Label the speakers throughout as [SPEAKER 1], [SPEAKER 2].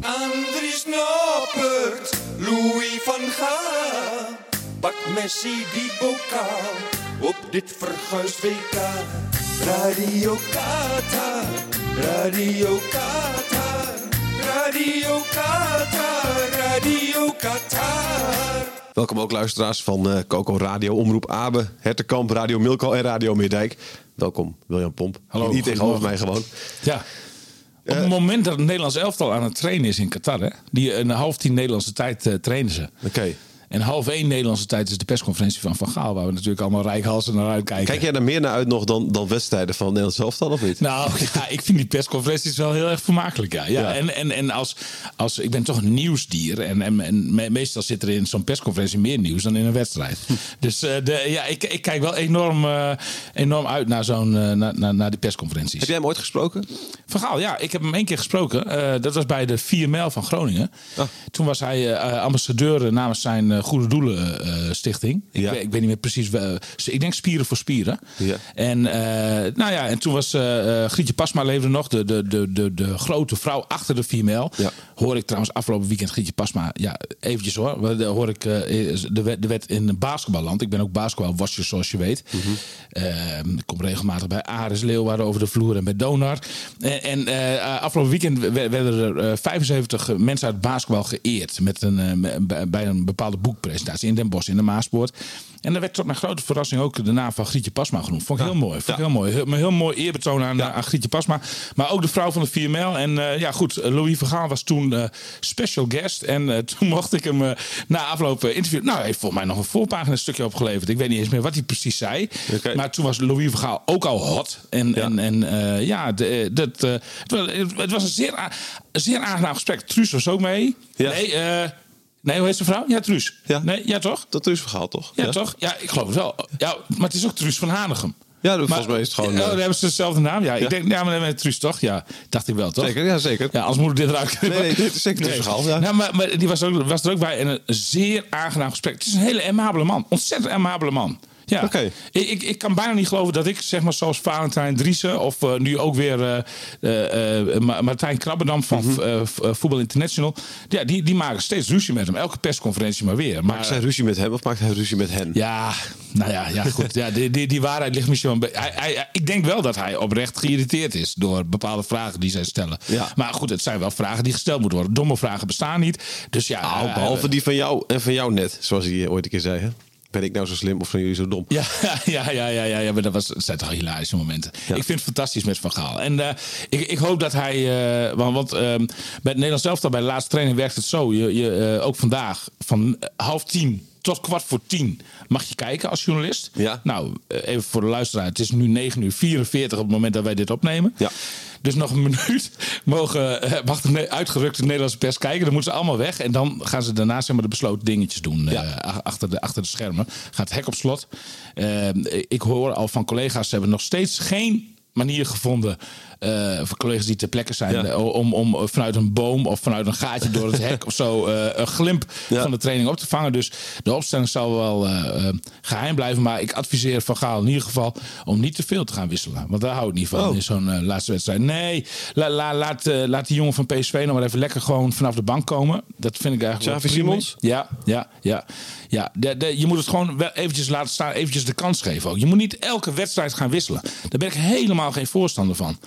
[SPEAKER 1] Andries Noppert, Louis van Gaal. Pak Messi die bokaal op dit verguisd WK. Radio Qatar, Radio Qatar, Radio Qatar, Radio Qatar.
[SPEAKER 2] Welkom ook luisteraars van eh Coco Radio, Omroep Abe, Hertenkamp, Radio Milko en Radio Meerdijk. Welkom, William Pomp.
[SPEAKER 3] Hallo,
[SPEAKER 2] Niet tegenover mij
[SPEAKER 3] goedemorgen.
[SPEAKER 2] gewoon.
[SPEAKER 3] Ja. Op
[SPEAKER 2] Eh,
[SPEAKER 3] het moment dat het Nederlands elftal aan het trainen is in Qatar, hè, die een half tien Nederlandse tijd eh, trainen ze.
[SPEAKER 2] Oké.
[SPEAKER 3] En half één Nederlandse tijd is de persconferentie van Van Gaal, waar we natuurlijk allemaal rijkhalsen naar uitkijken.
[SPEAKER 2] Kijk jij daar meer naar uit nog dan, dan wedstrijden van Nederland zelf dan of niet?
[SPEAKER 3] Nou ja, ik vind die persconferenties wel heel erg vermakelijk. Ja. Ja,
[SPEAKER 2] Ja.
[SPEAKER 3] En, en, en als, als ik ben toch een nieuwsdier. En, en, en me- meestal zit er in zo'n persconferentie meer nieuws dan in een wedstrijd.
[SPEAKER 2] Hm.
[SPEAKER 3] Dus eh, de, ja, ik, ik kijk wel enorm, eh, enorm uit naar, zo'n, eh, naar, naar, naar die persconferenties.
[SPEAKER 2] Heb jij hem ooit gesproken?
[SPEAKER 3] Van Gaal, ja, ik heb hem één keer gesproken. Eh, dat was bij de 4 mijl van Groningen.
[SPEAKER 2] Ah.
[SPEAKER 3] Toen was hij eh, ambassadeur namens zijn eh, Goede Doelen eh, Stichting. Ik,
[SPEAKER 2] Ja.
[SPEAKER 3] weet, ik weet niet meer precies. wel- ik denk Spieren voor Spieren.
[SPEAKER 2] Ja.
[SPEAKER 3] En, eh, nou ja, en toen was eh, eh, Grietje Pasma leefde nog, de, de, de, de, de grote vrouw achter de 4 mijl.
[SPEAKER 2] Ja.
[SPEAKER 3] Hoor ik trouwens afgelopen weekend Grietje Pasma. Ja, eventjes hoor. Wel, daar Hoor ik eh, is- de, wet, de wet in basketballand. Ik ben ook basketbalwatcher zoals je weet. Ehm, ik kom regelmatig bij Aris Leeuwarden over de vloer en bij Donar. En, en eh, afgelopen weekend we- werden er eh, 75 mensen uit basketbal geëerd. Met een, eh, m- bij- bij een bepaalde boekpresentatie in Den Bosch, in de Maaspoort. En daar werd tot mijn grote verrassing ook de naam van Grietje Pasma genoemd. Vond ik heel mooi. Vond ik
[SPEAKER 2] Ja.
[SPEAKER 3] heel mooi. Heel, maar heel mooi eerbetoon aan, eh, aan Grietje Pasma. Maar ook de vrouw van de 4 mijl. En eh, ja, goed, eh, Louis Vergaal was toen eh, special guest. En eh, toen mocht ik hem eh, na afloop eh, interviewen. Nou, hij heeft volgens mij nog een voorpagina stukje opgeleverd. Ik weet niet eens meer wat hij precies zei.
[SPEAKER 2] Oké.
[SPEAKER 3] Maar toen was Louis Vergaal ook al hot. En ja, en, en, eh, ja de- eh, dat, eh, het, was, het was een zeer, a- een zeer aangenaam gesprek. Truus was ook mee.
[SPEAKER 2] Ja.
[SPEAKER 3] Nee, eh, nee, hoe heet zijn vrouw? Ja, Truus.
[SPEAKER 2] Ja.
[SPEAKER 3] Nee, ja, toch?
[SPEAKER 2] Dat is verhaal toch?
[SPEAKER 3] Ja, toch? Ja, ik geloof het wel. Ja, maar het is ook Truus van Hanegem.
[SPEAKER 2] Ja, volgens mij is het gewoon,
[SPEAKER 3] Oh,
[SPEAKER 2] eh,
[SPEAKER 3] dan hebben ze dezelfde naam. Ja,
[SPEAKER 2] Ja.
[SPEAKER 3] ik denk, ja, maar dan hebben we Truus toch? Ja, dacht ik wel, toch?
[SPEAKER 2] Zeker, ja, zeker.
[SPEAKER 3] Ja, als moeder dit eruit knippen.
[SPEAKER 2] Nee, nee, dit is zeker Truus van Gaal, ja.
[SPEAKER 3] Nou, maar, maar die was, ook, was er ook bij. En een zeer aangenaam gesprek. Het is een hele amabele man. Ontzettend amabele man. Ja.
[SPEAKER 2] Oké.
[SPEAKER 3] Ik, ik, ik kan bijna niet geloven dat ik, zeg maar, zoals Valentijn Driessen... of eh, nu ook weer eh, eh, eh, Ma- Martijn Krabbendam van
[SPEAKER 2] Mhm.
[SPEAKER 3] eh, v- eh, Voetbal International... Ja, die, die maken steeds ruzie met hem. Elke persconferentie maar weer. Maar,
[SPEAKER 2] Maakt zij ruzie met hem of maakt hij ruzie met hen?
[SPEAKER 3] ja, nou ja, ja goed. Ja, die, die, die waarheid ligt misschien wel... een be- Hij, hij, hij- ik denk wel dat hij oprecht geïrriteerd is door bepaalde vragen die zij stellen.
[SPEAKER 2] Ja.
[SPEAKER 3] Maar goed, het zijn wel vragen die gesteld moeten worden. Domme vragen bestaan niet. Dus ja...
[SPEAKER 2] Nou,
[SPEAKER 3] eh,
[SPEAKER 2] behalve die van jou en van jou net, zoals hij eh, ooit een keer zei. Hè? Ben ik nou zo slim of zijn jullie zo dom?
[SPEAKER 3] Ja, ja, ja, ja, ja, ja, maar dat, was, dat zijn toch hilarische momenten. Ik vind het fantastisch met Van Gaal. En eh, ik, ik hoop dat hij... eh, want want ehm, bij het Nederlands elftal, bij de laatste training werkt het zo. Je, je, eh, ook vandaag, van eh, half tien tot kwart voor tien mag je kijken als journalist.
[SPEAKER 2] Ja.
[SPEAKER 3] Nou, eh, even voor de luisteraar. Het is nu 9 uur 44 op het moment dat wij dit opnemen.
[SPEAKER 2] Ja.
[SPEAKER 3] Dus nog een minuut mogen, eh, mag de ne- uitgerukte Nederlandse pers kijken. Dan moeten ze allemaal weg. En dan gaan ze daarna zeg maar, de besloten dingetjes doen. eh, a- achter, de, achter de schermen. Gaat het hek op slot. Eh, ik hoor al van collega's, ze hebben nog steeds geen manier gevonden... eh, voor collega's die ter plekke zijn...
[SPEAKER 2] Ja.
[SPEAKER 3] eh, om, om vanuit een boom of vanuit een gaatje door het hek of zo... eh, een glimp
[SPEAKER 2] Ja.
[SPEAKER 3] van de training op te vangen. Dus de opstelling zal wel eh, eh, geheim blijven. Maar ik adviseer Van Gaal in ieder geval om niet te veel te gaan wisselen. Want daar hou ik niet van
[SPEAKER 2] Oh.
[SPEAKER 3] in zo'n eh, laatste wedstrijd. Nee, la- la- laat, eh, laat die jongen van PSV nog maar even lekker gewoon vanaf de bank komen. Dat vind ik eigenlijk
[SPEAKER 2] Xavi
[SPEAKER 3] prima.
[SPEAKER 2] Simons?
[SPEAKER 3] Ja, ja, ja. ja de, de- je moet het gewoon wel eventjes laten staan. Eventjes de kans geven ook. Je moet niet elke wedstrijd gaan wisselen. Daar ben ik helemaal geen voorstander van.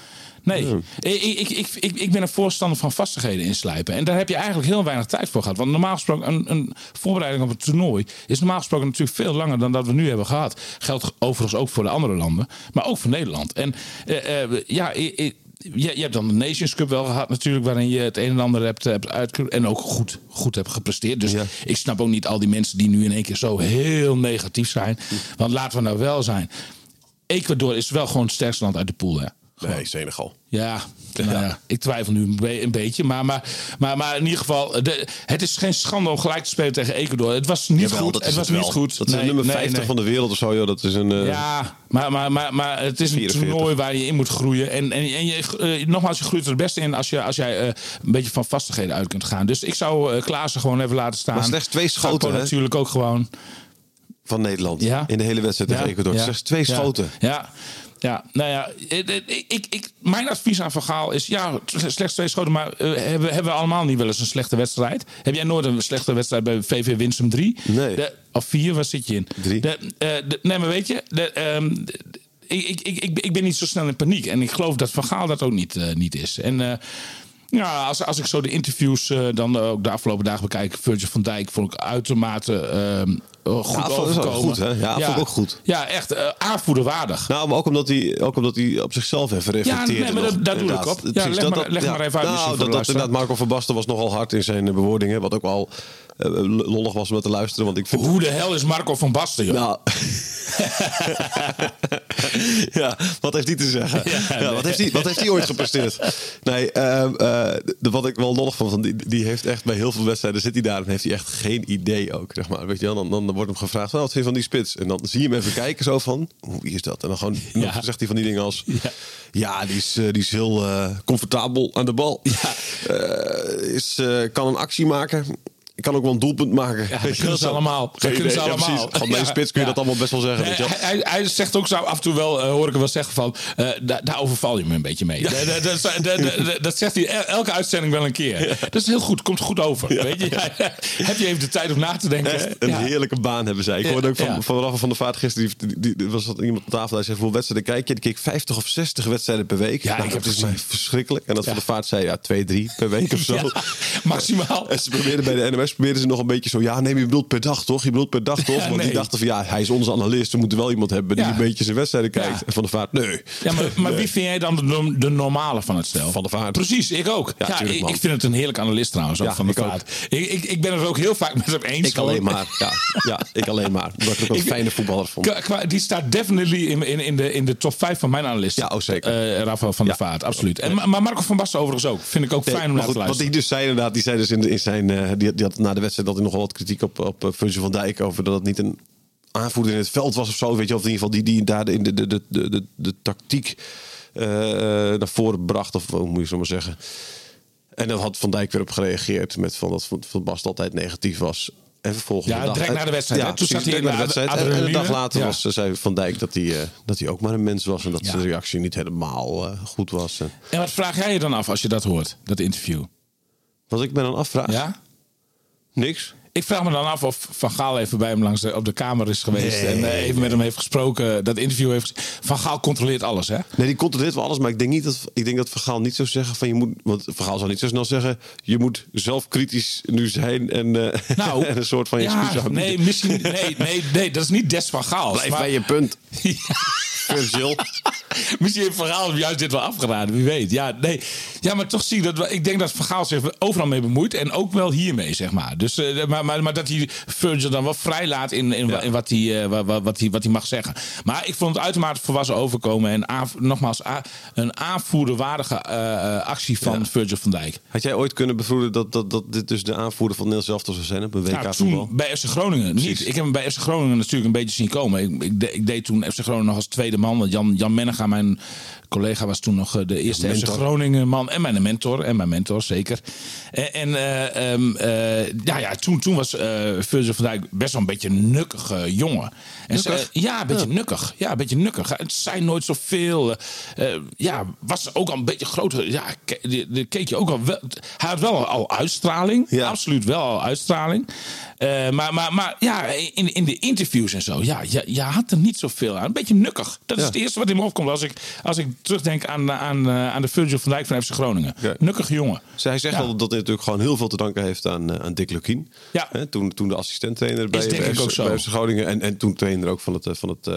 [SPEAKER 3] Nee, ik, ik, ik, ik, ik ben een voorstander van vastigheden inslijpen. En daar heb je eigenlijk heel weinig tijd voor gehad. Want normaal gesproken, een, een voorbereiding op een toernooi is normaal gesproken natuurlijk veel langer dan dat we nu hebben gehad. Geldt overigens ook voor de andere landen, maar ook voor Nederland. En eh, eh, ja, i- i- je, je hebt dan de Nations Cup wel gehad natuurlijk... waarin je het een en ander hebt, eh, hebt uit... en ook goed, goed hebt gepresteerd. Dus
[SPEAKER 2] Ja.
[SPEAKER 3] ik snap ook niet al die mensen die nu in één keer zo heel
[SPEAKER 2] Hm.
[SPEAKER 3] negatief zijn. Want laten we nou wel zijn. Ecuador is wel gewoon het sterkste land uit de pool, hè?
[SPEAKER 2] Nee, Senegal.
[SPEAKER 3] Ja, nou ja, ik twijfel nu een, be- een beetje. Maar, maar, maar, maar in ieder geval, de- het is geen schande om gelijk te spelen tegen Ecuador. Het was niet
[SPEAKER 2] Jawel,
[SPEAKER 3] goed.
[SPEAKER 2] dat
[SPEAKER 3] Het,
[SPEAKER 2] is
[SPEAKER 3] was
[SPEAKER 2] het wel.
[SPEAKER 3] niet goed.
[SPEAKER 2] Dat is
[SPEAKER 3] Nee,
[SPEAKER 2] nummer
[SPEAKER 3] nee,
[SPEAKER 2] 50
[SPEAKER 3] nee.
[SPEAKER 2] van de wereld of zo, joh. Dat is een... eh,
[SPEAKER 3] Ja, maar, maar, maar, maar het is een
[SPEAKER 2] 44.
[SPEAKER 3] toernooi waar je in moet groeien. En, en, en je, eh, nogmaals, je groeit er het beste in als, je, als jij eh, een beetje van vastigheden uit kunt gaan. Dus ik zou eh Klaassen gewoon even laten staan.
[SPEAKER 2] Maar slechts twee schoten,
[SPEAKER 3] Gakpo
[SPEAKER 2] hè?
[SPEAKER 3] natuurlijk ook gewoon.
[SPEAKER 2] Van Nederland.
[SPEAKER 3] Ja.
[SPEAKER 2] In de hele wedstrijd tegen Ecuador.
[SPEAKER 3] ja,
[SPEAKER 2] Slechts twee
[SPEAKER 3] ja,
[SPEAKER 2] schoten.
[SPEAKER 3] Ja. Ja, nou ja, ik, ik- ik, ik, mijn advies aan Van Gaal is... ja, t- slechts twee schoten, maar eh, hebben, hebben we allemaal niet wel eens een slechte wedstrijd? Heb jij nooit een slechte wedstrijd bij VV Winsum 3?
[SPEAKER 2] Nee.
[SPEAKER 3] De- of 4, waar zit je in?
[SPEAKER 2] Drie.
[SPEAKER 3] De, eh, de- nee, maar weet je... De, ehm, de- de- ik, ik, ik, ik, ik ben niet zo snel in paniek. En ik geloof dat Van Gaal dat ook niet, eh, niet is. En... eh, ja, als, als ik zo de interviews eh, dan ook de afgelopen dagen bekijk... Virgil van Dijk vond ik uitermate ehm, goed
[SPEAKER 2] Ja, vond- is ook
[SPEAKER 3] overkomen.
[SPEAKER 2] goed, hè? Ja, vond ik ook goed.
[SPEAKER 3] Ja, echt eh aanvoerderwaardig.
[SPEAKER 2] Nou, maar ook omdat hij, ook omdat hij op zichzelf even reflecteert.
[SPEAKER 3] nee, maar
[SPEAKER 2] nog,
[SPEAKER 3] dat- dat doe
[SPEAKER 2] inderdaad.
[SPEAKER 3] ik op. Ja,
[SPEAKER 2] Precies,
[SPEAKER 3] leg maar- leg maar even uit misschien
[SPEAKER 2] Nou,
[SPEAKER 3] voor de
[SPEAKER 2] dat, dat,
[SPEAKER 3] luisteraar.
[SPEAKER 2] inderdaad, Marco van Basten was nogal hard in zijn eh, bewoordingen. Wat ook wel eh, lollig was om naar te luisteren. Want ik vind
[SPEAKER 3] Hoe de hel is Marco van Basten, joh?
[SPEAKER 2] Nou. ja, wat heeft die te zeggen? Ja, wat, heeft die, wat heeft die ooit gepresteerd? Nee, ehm, eh, de, wat ik wel lollig vond, want die, die heeft echt bij heel veel wedstrijden zit hij daar en heeft hij echt geen idee ook. Zeg maar. Weet je wel, dan, dan wordt hem gevraagd: "Wel, wat vind je van die spits? En dan zie je hem even kijken, zo van: hoe wie is dat? En dan gewoon dan
[SPEAKER 3] Ja.
[SPEAKER 2] zegt hij van die dingen als: ja, die, is, eh, die is heel eh, comfortabel aan de bal. Eh, is, eh, kan een actie maken. Kan ook wel een doelpunt maken.
[SPEAKER 3] Ja,
[SPEAKER 2] Weet je
[SPEAKER 3] dat kunnen ze
[SPEAKER 2] wel zo.
[SPEAKER 3] allemaal. Dat
[SPEAKER 2] Geen
[SPEAKER 3] kunnen ze
[SPEAKER 2] idee, ja,
[SPEAKER 3] allemaal.
[SPEAKER 2] precies. Van mijn
[SPEAKER 3] Ja,
[SPEAKER 2] spits kun je
[SPEAKER 3] ja.
[SPEAKER 2] dat allemaal best wel zeggen.
[SPEAKER 3] Nee,
[SPEAKER 2] weet je wel.
[SPEAKER 3] hij, hij, hij zegt ook zo af en toe wel, eh, hoor ik hem wel zeggen van, eh, da- daar overval je me een beetje mee. Da- da- da- da- da- da- dat zegt hij el- elke uitzending wel een keer. Dat is heel goed, komt goed over. Weet je? Ja, heb je even de tijd om na te denken?
[SPEAKER 2] Echt een
[SPEAKER 3] Ja.
[SPEAKER 2] heerlijke baan hebben zij. Ik hoorde ook van,
[SPEAKER 3] Ja.
[SPEAKER 2] van Rafa van der Vaart gisteren. Die, die, die- was dat iemand op tafel. Hij zei, hoeveel wedstrijden kijk je? Die keek 50 of 60 wedstrijden per week. Nou,
[SPEAKER 3] Ja, ik heb
[SPEAKER 2] dat is
[SPEAKER 3] gezien.
[SPEAKER 2] mij verschrikkelijk. En dat
[SPEAKER 3] Ja.
[SPEAKER 2] van der Vaart zei, ja, twee, drie per week of zo.
[SPEAKER 3] Ja, maximaal.
[SPEAKER 2] En ze probeerden bij de NOS probeerden ze nog een beetje zo... Ja, nee, maar je bedoelt per dag, toch? Je bedoelt per dag, toch? Want
[SPEAKER 3] nee.
[SPEAKER 2] die dachten van, ja, hij is onze analist. We moeten wel iemand hebben die
[SPEAKER 3] Ja.
[SPEAKER 2] een beetje zijn wedstrijden kijkt.
[SPEAKER 3] Ja.
[SPEAKER 2] En van der Vaart, nee.
[SPEAKER 3] Ja, maar, maar wie vind jij dan de, norm- de normale van het stel?
[SPEAKER 2] Van der Vaart.
[SPEAKER 3] Precies, ik ook. Ja,
[SPEAKER 2] Ja, tuurlijk,
[SPEAKER 3] ik,
[SPEAKER 2] man.
[SPEAKER 3] ik vind het een heerlijk analist trouwens, ook
[SPEAKER 2] Ja,
[SPEAKER 3] van der
[SPEAKER 2] ik ook.
[SPEAKER 3] Vaart. Ik, ik, ik ben het ook heel vaak met hem eens.
[SPEAKER 2] Ik alleen
[SPEAKER 3] gewoon.
[SPEAKER 2] maar. Ja, ja, ik alleen maar. Omdat ik ook een
[SPEAKER 3] Ik-
[SPEAKER 2] fijne voetballer vond.
[SPEAKER 3] Qua- qua- die staat definitely in, in, in, de, in de top 5 van mijn analisten.
[SPEAKER 2] Ja, oh, zeker.
[SPEAKER 3] Eh, Rafael van der
[SPEAKER 2] Ja.
[SPEAKER 3] Vaart, absoluut. En, ma- maar Marco van Basten overigens ook. Vind ik ook fijn om
[SPEAKER 2] maar
[SPEAKER 3] naar te
[SPEAKER 2] goed, Wat
[SPEAKER 3] luisteren.
[SPEAKER 2] hij dus zei inderdaad, die zei dus in, in zijn, eh, die, die had na de wedstrijd dat hij nogal wat kritiek op, op eh, Virgil van Dijk over dat het niet een aanvoerder in het veld was of zo, weet je, of in ieder geval die die daar de de de de, de, de, de tactiek eh, naar voren bracht of hoe moet je zo maar zeggen. En dan had Van Dijk weer op gereageerd met van dat Van van Basten altijd negatief was. En vervolgens
[SPEAKER 3] Ja, direct na de wedstrijd, hè? Toen zat hij in de ad-
[SPEAKER 2] En, en een dag
[SPEAKER 3] adrenaline.
[SPEAKER 2] later
[SPEAKER 3] Ja.
[SPEAKER 2] was, zei Van Dijk dat hij, eh, dat hij ook maar een mens was en dat
[SPEAKER 3] Ja.
[SPEAKER 2] zijn reactie niet helemaal eh, goed was. En
[SPEAKER 3] En wat vraag jij je dan af als je dat hoort, dat interview?
[SPEAKER 2] wat ik me dan afvraag,
[SPEAKER 3] Ja?
[SPEAKER 2] niks.
[SPEAKER 3] Ik vraag me dan af of Van Gaal even bij hem langs de, op de kamer is geweest. en eh, even met hem heeft gesproken, dat interview heeft gezien. Van Gaal controleert alles, hè?
[SPEAKER 2] Nee, die controleert wel alles, maar ik denk niet dat ik denk dat Vergaal niet zou zeggen van je moet, want Vergaal zou niet zo snel zeggen je moet zelfkritisch nu zijn en, eh,
[SPEAKER 3] Nou,
[SPEAKER 2] en een soort van je
[SPEAKER 3] ja,
[SPEAKER 2] excuus aanbieden.
[SPEAKER 3] nee, misschien, nee, nee, nee, dat is niet des van Gaal.
[SPEAKER 2] blijf bij je punt, Virgil.
[SPEAKER 3] Misschien heeft Van Gaal hem juist dit wel afgeraden, wie weet. Ja, nee. ja maar toch zie ik dat. we- Ik denk dat Van Gaal zich overal mee bemoeit. En ook wel hiermee, zeg maar. Dus, eh, maar, maar, maar dat hij Virgil dan wel vrij laat in, in, wa- in wat, hij, eh, wa- wa- wat, hij, wat hij mag zeggen. Maar ik vond het uitermate volwassen overkomen. En aanv- nogmaals, a- een aanvoerderwaardige eh, eh, actie van Virgil van Dijk.
[SPEAKER 2] Had jij ooit kunnen bevroeden dat, dat, dat dit dus de aanvoerder van Nederland zelf zou zijn op een WK
[SPEAKER 3] Nou,
[SPEAKER 2] voetbal?
[SPEAKER 3] toen bij FC Groningen niet. Ik heb hem bij FC Groningen natuurlijk een beetje zien komen. Ik, ik, de- ik deed toen FC Groningen nog als tweede man. Want Jan, Jan Mennega, mijn collega, was toen nog eh, de eerste FC
[SPEAKER 2] mentor.
[SPEAKER 3] Groningen man. En mijn mentor. En mijn mentor, zeker. En, en eh, ehm, eh, ja, ja, toen, toen was eh Virgil van Dijk best wel een beetje een nukkige jongen. En ze-
[SPEAKER 2] Nukkig?
[SPEAKER 3] ja, een beetje nukkig. Ja, een beetje nukkig. Het zei nooit zoveel. Eh, eh, ja, was ook al een beetje groter. Ja, ke- de- de keek je ook al wel. Hij had wel al uitstraling.
[SPEAKER 2] Ja.
[SPEAKER 3] Absoluut wel al uitstraling. Eh, maar, maar, maar ja, in, in de interviews en zo. Ja, je, je had er niet zoveel aan. Een beetje nukkig. Dat is
[SPEAKER 2] Ja.
[SPEAKER 3] het eerste wat in me opkomt als ik, als ik terugdenk aan, aan, eh, aan de Virgil van Dijk van FC Groningen.
[SPEAKER 2] Ja.
[SPEAKER 3] Nukkig jongen.
[SPEAKER 2] Zij zegt
[SPEAKER 3] Ja.
[SPEAKER 2] al dat dit natuurlijk gewoon heel veel te danken heeft aan, eh, aan Dick Lukien.
[SPEAKER 3] Ja.
[SPEAKER 2] Hè, toen, toen de assistenttrainer bij,
[SPEAKER 3] denk
[SPEAKER 2] bij,
[SPEAKER 3] ik
[SPEAKER 2] FC
[SPEAKER 3] ook zo.
[SPEAKER 2] bij FC Groningen en, en toen trainer ook van het, eh, van het eh,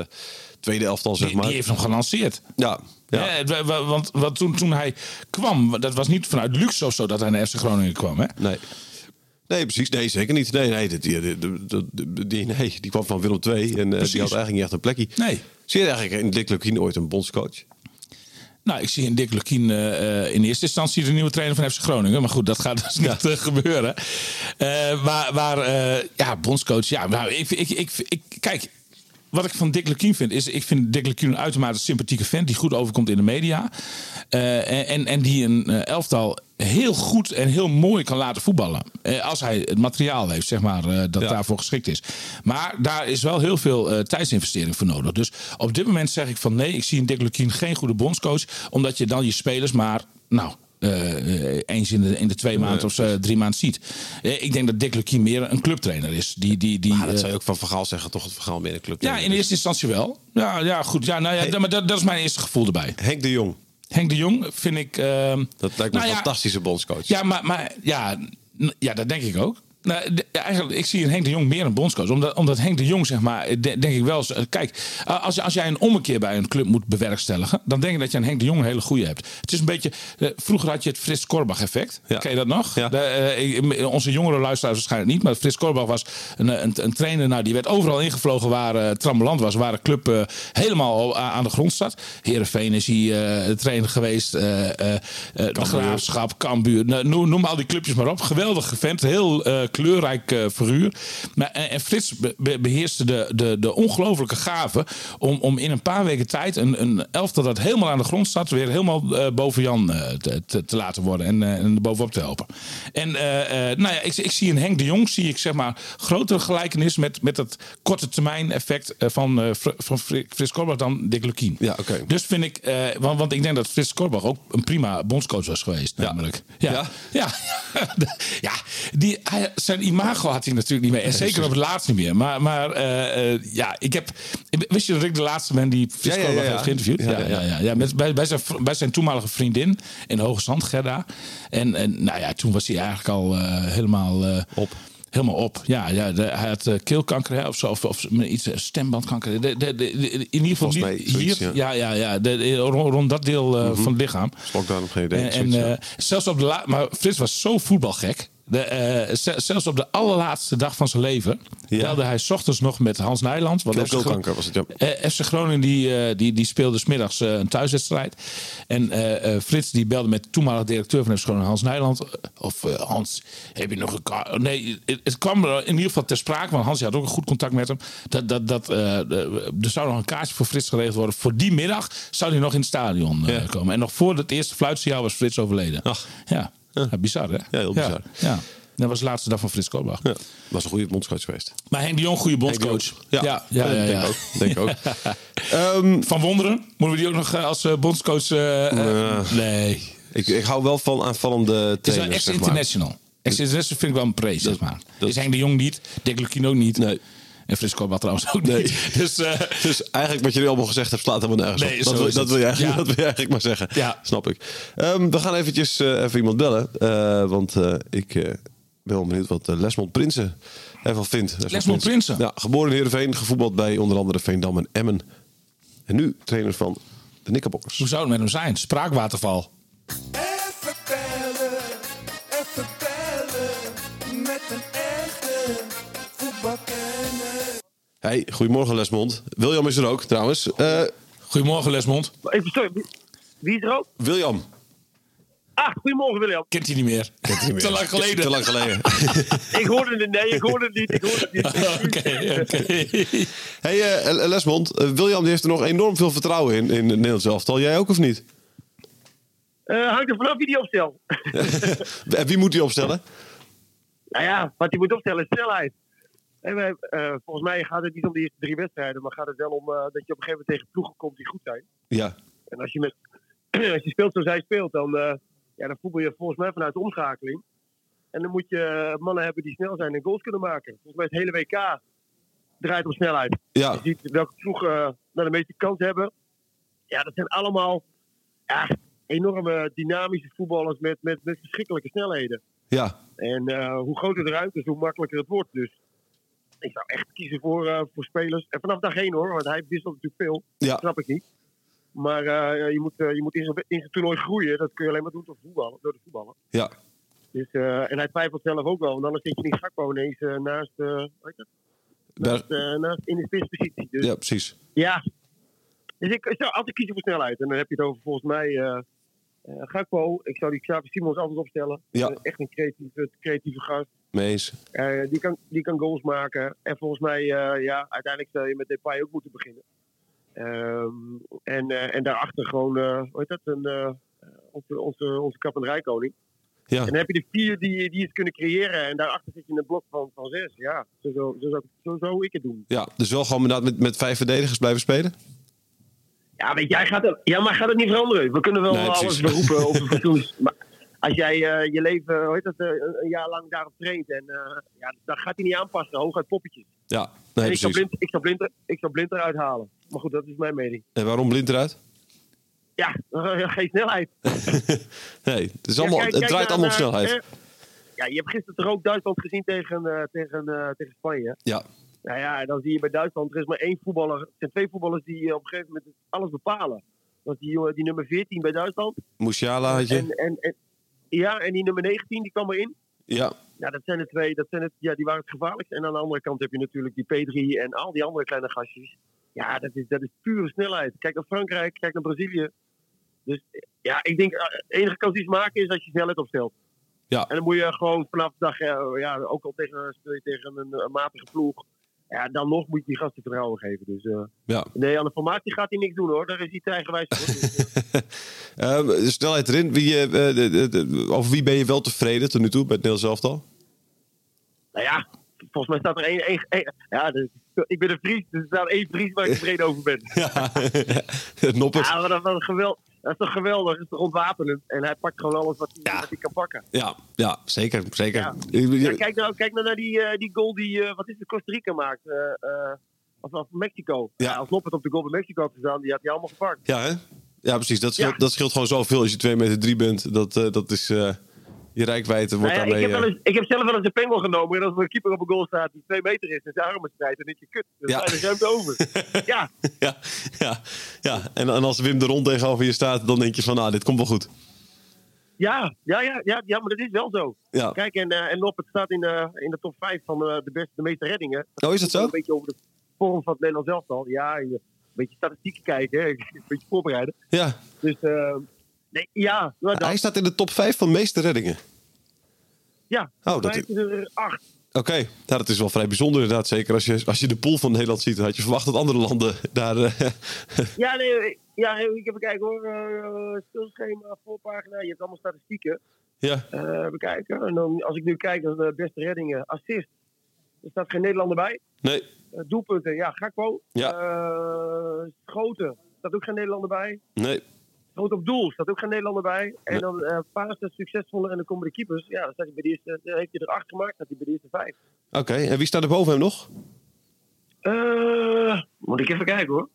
[SPEAKER 2] tweede elftal, zeg
[SPEAKER 3] Die,
[SPEAKER 2] maar.
[SPEAKER 3] die heeft hem gelanceerd.
[SPEAKER 2] Ja, ja.
[SPEAKER 3] Ja. het- wa- wa- want want toen, toen hij kwam, dat was niet vanuit luxe of zo dat hij naar FC Groningen kwam. Hè?
[SPEAKER 2] Nee. Nee, precies. Nee, zeker niet. Nee, nee, dit- die, die, die- die- nee die kwam van Willem II en eh, die had eigenlijk niet echt een plekje.
[SPEAKER 3] Nee.
[SPEAKER 2] Zie je eigenlijk in Dick Lukien ooit een bondscoach?
[SPEAKER 3] Nou, ik zie in Dick Lukien eh, eh, in eerste instantie de nieuwe trainer van FC Groningen. Maar goed, dat gaat dus niet eh, gebeuren. Eh, maar maar eh, ja, bondscoach. Ja, nou, ik, ik, ik, ik, kijk, wat ik van Dick Lukien vind, is ik vind Dick Lukien een uitermate sympathieke vent die goed overkomt in de media. Eh, en, en die een eh, elftal heel goed en heel mooi kan laten voetballen. Eh, als hij het materiaal heeft, zeg maar, eh, dat
[SPEAKER 2] Ja.
[SPEAKER 3] daarvoor geschikt is. Maar daar is wel heel veel eh, tijdsinvestering voor nodig. Dus op dit moment zeg ik van nee, ik zie in Dick Lukien geen goede bondscoach. Omdat je dan je spelers maar, nou, eh, eh, eens in de, in de twee maanden of eh, drie maanden ziet. Eh, ik denk dat Dick Lukien meer een clubtrainer is. Die, die, die,
[SPEAKER 2] Maar dat
[SPEAKER 3] eh,
[SPEAKER 2] zou je ook van Vergaal zeggen, toch? Het Vergaal meer een club.
[SPEAKER 3] ja, in eerste instantie wel. Ja, ja goed. Ja, nou ja, d- maar dat, dat is mijn eerste gevoel erbij.
[SPEAKER 2] Dus Henk de Jong,
[SPEAKER 3] Henk de Jong vind ik... ehm,
[SPEAKER 2] dat lijkt me
[SPEAKER 3] nou
[SPEAKER 2] een
[SPEAKER 3] ja,
[SPEAKER 2] fantastische bondscoach.
[SPEAKER 3] Ja, maar, maar ja, n- ja, dat denk ik ook. Nou, d- ja, eigenlijk, ik zie in Henk de Jong meer een bondscoach. Omdat, omdat Henk de Jong, zeg maar, eh, de- denk ik wel... eens, eh, Kijk, eh, als, je- als jij een ommekeer bij een club moet bewerkstelligen... dan denk ik dat je aan Henk de Jong een hele goede hebt. Het is een beetje... eh, vroeger had je het Frits Korbach-effect.
[SPEAKER 2] Ja.
[SPEAKER 3] Ken je dat nog?
[SPEAKER 2] Ja.
[SPEAKER 3] De, eh, ik- m- onze jongere luisteraars waarschijnlijk niet. Maar Frits Korbach was een, een, een trainer. Nou, die werd overal ingevlogen waar eh Trambeland was. Waar de club eh, helemaal al a- aan de grond zat. Heerenveen is hier eh, de trainer geweest. eh, eh, eh, de Graafschap, Cambuur. Nou, noem, noem al die clubjes maar op. Geweldige vent. Heel eh, kleurrijk eh, figuur. Maar, en, en Frits be- be- beheerste de, de, de ongelofelijke gave... Om, om in een paar weken tijd een, een elftal dat helemaal aan de grond staat... weer helemaal eh, boven Jan eh, te, te, te laten worden en, eh, en er bovenop te helpen. En eh, eh, nou ja, ik, ik zie in Henk de Jong zie ik, zeg maar, grotere gelijkenis... met, met dat korte termijn effect eh, van, eh, Fr- van Fri- Frits Korbach dan Dick Lukien.
[SPEAKER 2] Ja, oké.
[SPEAKER 3] Dus vind ik, eh, want, want ik denk dat Frits Korbach ook een prima bondscoach was geweest, namelijk. Ja. Ja,
[SPEAKER 2] Ja?
[SPEAKER 3] ja. die, hij- zijn imago had hij natuurlijk niet meer. En zeker op het laatst niet meer. Maar, maar eh, eh, ja, ik heb. Wist je dat ik de laatste ben die Frits
[SPEAKER 2] Ja, ja,
[SPEAKER 3] Korbach
[SPEAKER 2] ja, ja.
[SPEAKER 3] heeft geïnterviewd?
[SPEAKER 2] Ja, ja, ja.
[SPEAKER 3] ja, ja met, bij, bij, zijn, vr- bij zijn toenmalige vriendin in Hoge Zand, Gerda. En, en nou ja, toen was hij eigenlijk al eh, helemaal... eh,
[SPEAKER 2] Op.
[SPEAKER 3] Helemaal op. Ja, ja de- hij had eh, keelkanker hè, of zo. Of, of iets, eh, stembandkanker. De, de, de- de- in ieder geval
[SPEAKER 2] Volgens
[SPEAKER 3] niet
[SPEAKER 2] mij zoiets,
[SPEAKER 3] hier. Ja,
[SPEAKER 2] ja. Mhm.
[SPEAKER 3] ja, ja. de- de- rond, rond dat deel eh, van het lichaam.
[SPEAKER 2] Slokdarm, geen idee,
[SPEAKER 3] En, en,
[SPEAKER 2] zoiets, ja.
[SPEAKER 3] eh, zelfs op de la- maar Frits was zo voetbalgek. De, eh, ze- zelfs op de allerlaatste dag van zijn leven
[SPEAKER 2] Ja.
[SPEAKER 3] belde hij 's ochtends nog met Hans Nijland. want
[SPEAKER 2] Ja,
[SPEAKER 3] FC Gro-
[SPEAKER 2] keelkanker was het, ja.
[SPEAKER 3] eh, FC Groningen die, eh, die, die speelde smiddags middags een thuiswedstrijd. En eh, eh, Frits die belde met toenmalig directeur van FC Groningen, Hans Nijland. Eh, Of eh, Hans, heb je nog een kaart? Nee, het, het kwam er in ieder geval ter sprake, want Hans die had ook een goed contact met hem. Dat, dat, dat, eh, eh, er zou nog een kaartje voor Frits geregeld worden. Voor die middag zou hij nog in het stadion eh,
[SPEAKER 2] Ja.
[SPEAKER 3] komen. En nog voor het eerste fluitsignaal was Frits overleden.
[SPEAKER 2] Ach.
[SPEAKER 3] Ja. Ja, bizar hè? Ja,
[SPEAKER 2] heel bizar.
[SPEAKER 3] Ja, Dat was de laatste dag van Frits Korbach.
[SPEAKER 2] Ja, was een goede bondscoach geweest.
[SPEAKER 3] Maar Henk de Jong, goede bondscoach.
[SPEAKER 2] Ja, ja, denk ik ook. Denk ik ook. Ehm,
[SPEAKER 3] Van Wonderen, moeten we die ook nog eh, als eh, bondscoach... eh, eh, nee.
[SPEAKER 2] ik, ik hou wel van aanvallende
[SPEAKER 3] Het is wel
[SPEAKER 2] trainers, zeg maar.
[SPEAKER 3] ex-international. Ex-international vind ik wel een prijs, zeg maar.
[SPEAKER 2] dat-
[SPEAKER 3] is Henk de Jong niet, Dick Lukien ook niet.
[SPEAKER 2] Nee.
[SPEAKER 3] En Frits Korbach trouwens ook
[SPEAKER 2] Nee.
[SPEAKER 3] niet. Dus eh,
[SPEAKER 2] Dus eigenlijk wat jullie allemaal gezegd hebben, slaat helemaal nergens
[SPEAKER 3] Nee,
[SPEAKER 2] op.
[SPEAKER 3] zo
[SPEAKER 2] Dat, wil-
[SPEAKER 3] is
[SPEAKER 2] dat,
[SPEAKER 3] het.
[SPEAKER 2] wil je eigenlijk,
[SPEAKER 3] Ja.
[SPEAKER 2] dat wil je eigenlijk maar zeggen.
[SPEAKER 3] Ja.
[SPEAKER 2] Snap ik. Ehm, we gaan eventjes eh, even iemand bellen. Eh, want eh, ik eh, ben wel benieuwd wat eh, Lesmond Prinsen ervan vindt. Lesmond,
[SPEAKER 3] Lesmond Prinsen.
[SPEAKER 2] Ja, geboren in Heerenveen, gevoetbald bij onder andere Veendam en Emmen. En nu trainer van de Knickerbockers.
[SPEAKER 3] hoe zou het met hem zijn? Spraakwaterval.
[SPEAKER 1] Even bellen, even bellen met een echte voetbalkenner.
[SPEAKER 2] Hey, goedemorgen Lesmond. William is er ook trouwens. Eh,
[SPEAKER 3] Goedemorgen Lesmond.
[SPEAKER 4] Even, sorry, wie- wie is er ook?
[SPEAKER 2] William.
[SPEAKER 4] Ah, goedemorgen William.
[SPEAKER 3] Kent hij niet meer. Te lang geleden.
[SPEAKER 2] Te lang geleden.
[SPEAKER 4] Ik hoorde het, nee, ik hoorde het niet, ik hoorde het niet.
[SPEAKER 3] Oké, oké.
[SPEAKER 2] hey eh, Lesmond, eh, William die heeft er nog enorm veel vertrouwen in, in het Nederlands elftal. Jij ook of niet?
[SPEAKER 4] Eh, hangt er vanaf wie die opstelt.
[SPEAKER 2] En wie moet hij opstellen?
[SPEAKER 4] nou ja, wat hij moet opstellen is snelheid. En wij, eh, volgens mij gaat het niet om de eerste drie wedstrijden, maar gaat het wel om eh, dat je op een gegeven moment tegen ploegen komt die goed zijn.
[SPEAKER 2] Ja.
[SPEAKER 4] En als je, met, als je speelt zoals hij speelt, dan, eh, ja, dan voetbal je volgens mij vanuit de omschakeling. En dan moet je eh, mannen hebben die snel zijn en goals kunnen maken. Volgens mij het hele WK draait om snelheid.
[SPEAKER 2] Ja.
[SPEAKER 4] Je ziet welke ploegen eh, nou de meeste kans hebben. Ja, dat zijn allemaal ja, enorme dynamische voetballers met, met, met verschrikkelijke snelheden.
[SPEAKER 2] Ja,
[SPEAKER 4] En eh, hoe groter de ruimte is, hoe makkelijker het wordt. Dus ik zou echt kiezen voor, eh, voor spelers. En vanaf dag heen hoor, want hij wisselt natuurlijk veel.
[SPEAKER 2] Ja.
[SPEAKER 4] Dat snap ik niet. Maar eh, je moet, eh, je moet in zo'n- in zijn toernooi groeien. Dat kun je alleen maar doen door, voetballen, door de voetballen.
[SPEAKER 2] ja.
[SPEAKER 4] Dus, eh, en hij twijfelt zelf ook wel. Want anders zit je niet Gakpo ineens eh, naast, eh, hoe heet dat?
[SPEAKER 2] Berg-
[SPEAKER 4] Eh, naast in de spitspositie. Dus
[SPEAKER 2] ja, precies.
[SPEAKER 4] ja, Dus ik, ik zou altijd kiezen voor snelheid. En dan heb je het over volgens mij eh eh, Gakpo. Ik zou die Xavi Simons altijd opstellen.
[SPEAKER 2] Ja.
[SPEAKER 4] Eh, Echt een creatieve, creatieve gast.
[SPEAKER 2] Mees.
[SPEAKER 4] Eh, die, kan, die kan goals maken. En volgens mij, eh, ja, uiteindelijk zou je met Depay ook moeten beginnen. Ehm, en, eh, en daarachter gewoon, eh, hoe heet dat, een, eh, onze, onze, onze kap- en rijkoning.
[SPEAKER 2] Ja.
[SPEAKER 4] En dan heb je de vier die, die het kunnen creëren. En daarachter zit je in een blok van, van zes. Ja, zo zou zo, zou- zo, zou ik het doen.
[SPEAKER 2] Ja, dus wel gewoon inderdaad met, met vijf verdedigers blijven spelen.
[SPEAKER 4] Ja, weet jij gaat het, ja, maar gaat het niet veranderen? We kunnen wel
[SPEAKER 2] Nee, precies.
[SPEAKER 4] alles beroepen over fatsoens. Maar als jij eh, je leven, hoe heet dat, eh, een- een jaar lang daarop traint. En eh, ja, dan gaat hij niet aanpassen. Hooguit poppetjes.
[SPEAKER 2] Ja, nee,
[SPEAKER 4] En ik,
[SPEAKER 2] precies.
[SPEAKER 4] zou blind, ik, zou blind, ik zou blind eruit halen. Maar goed, dat is mijn mening.
[SPEAKER 2] En waarom blind eruit?
[SPEAKER 4] Ja, geen snelheid.
[SPEAKER 2] Nee, het, is allemaal,
[SPEAKER 4] Ja, kijk-
[SPEAKER 2] het draait
[SPEAKER 4] kijk naar-
[SPEAKER 2] allemaal op
[SPEAKER 4] naar,
[SPEAKER 2] snelheid.
[SPEAKER 4] eh, ja, je hebt gisteren toch ook Duitsland gezien tegen, eh, tegen, eh, tegen Spanje.
[SPEAKER 2] ja,
[SPEAKER 4] Nou ja, en dan zie je bij Duitsland, er is maar één voetballer. Er zijn twee voetballers die eh, op een gegeven moment alles bepalen. Dat is die, jongen- die nummer 14 bij Duitsland.
[SPEAKER 2] Musiala had je.
[SPEAKER 4] En, en, en, ja, en die nummer 19, die kwam erin.
[SPEAKER 2] ja,
[SPEAKER 4] Ja, dat zijn de twee, dat zijn het, ja, die waren het gevaarlijkst. En aan de andere kant heb je natuurlijk die P3 en al die andere kleine gastjes. Ja, dat is, dat is pure snelheid. Kijk naar Frankrijk, kijk naar Brazilië. Dus ja, ik denk, eh, de enige kans die ze maken is als je snelheid opstelt.
[SPEAKER 2] Ja.
[SPEAKER 4] En dan moet je gewoon vanaf de dag, eh, ja, ook al tegen, speel je tegen een, eh, matige ploeg. Ja, dan nog moet je die gasten vertrouwen geven. Dus eh,
[SPEAKER 2] ja.
[SPEAKER 4] nee, aan de formatie gaat hij niks doen hoor. Daar is hij te eigenwijs voor. Dus, eh,
[SPEAKER 2] Ehm, de snelheid erin. Wie, eh, eh, de- de- de- over wie ben je wel tevreden tot nu toe bij het Nederlands elftal?
[SPEAKER 4] Nou ja, volgens mij staat er één. één, één- ja, dus, ik ben een Fries, dus er staat één Fries waar ik tevreden over ben.
[SPEAKER 2] Ja, Noppert.
[SPEAKER 4] Ja, maar dat, dat, geweld, dat is toch geweldig? Dat is toch ontwapenend? En hij pakt gewoon alles wat hij, wat hij kan pakken.
[SPEAKER 2] Ja, ja, zeker, zeker.
[SPEAKER 4] Ja.
[SPEAKER 2] Ik-
[SPEAKER 4] Ja,
[SPEAKER 2] ik-
[SPEAKER 4] kijk nou, kijk nou naar die, eh, die goal die eh, wat is het, Costa Rica maakt. eh eh, of, of Mexico.
[SPEAKER 2] Ja.
[SPEAKER 4] Ja. Als Loppet op de goal bij Mexico had gestaan, die had hij allemaal gepakt.
[SPEAKER 2] Ja, hè? Ja, precies. Dat scheelt,
[SPEAKER 4] Ja.
[SPEAKER 2] dat scheelt gewoon zoveel als je 2 meter 3 bent. Dat, eh, dat is, eh, je rijkwijde wordt
[SPEAKER 4] Nou ja, ik,
[SPEAKER 2] daarmee...
[SPEAKER 4] heb wel
[SPEAKER 2] eh,
[SPEAKER 4] eens, ik heb zelf wel eens een pengel genomen. En als er een keeper op een goal staat die twee meter is en zijn armen strijdt, dan denk je, kut, dan
[SPEAKER 2] Ja.
[SPEAKER 4] zijn er ruimte over. ja,
[SPEAKER 2] eh, ja, ja, ja. En, en als Wim de Rond tegenover je staat, dan denk je van, nou, dit komt wel goed.
[SPEAKER 4] ja, ja, ja, ja, ja, maar dat is wel zo.
[SPEAKER 2] Ja.
[SPEAKER 4] Kijk, en, eh en Loppet staat in, eh, in de top 5 van eh, de, beste, de meeste reddingen.
[SPEAKER 2] Oh, is dat zo?
[SPEAKER 4] Een beetje over de vorm van het Nederlands elftal. Ja, je- een beetje statistieken kijken, hè. een beetje voorbereiden.
[SPEAKER 2] Ja.
[SPEAKER 4] Dus eh, nee, ja, nou, dat,
[SPEAKER 2] Hij staat in de top 5 van meeste reddingen.
[SPEAKER 4] ja.
[SPEAKER 2] Oh, dat-
[SPEAKER 4] Volgens mij is er acht.
[SPEAKER 2] Oké, nou, dat is wel vrij bijzonder inderdaad. Zeker als je, als je de pool van Nederland ziet, dan had je verwacht dat andere landen daar... eh,
[SPEAKER 4] Ja, nee, eh, ja, ik heb kijken hoor. Eh, stilschema, voorpagina, je hebt allemaal statistieken.
[SPEAKER 2] ja,
[SPEAKER 4] Eh we kijken. En dan, als ik nu kijk naar de beste reddingen, assist. Er staat geen Nederlander bij.
[SPEAKER 2] nee.
[SPEAKER 4] Eh, doelpunten, ja, Gakpo.
[SPEAKER 2] Ja.
[SPEAKER 4] Eh, schoten, staat ook geen Nederlander bij.
[SPEAKER 2] Nee,
[SPEAKER 4] Groot op doel, staat ook geen Nederlander bij. En
[SPEAKER 2] Nee.
[SPEAKER 4] dan eh Pasen succesvoller en dan komen de keepers. Ja, dan staat hij bij de eerste, dan heeft hij er acht gemaakt, staat hij bij de eerste vijf.
[SPEAKER 2] oké. En wie staat er boven hem nog?
[SPEAKER 4] Eh, moet ik even kijken hoor.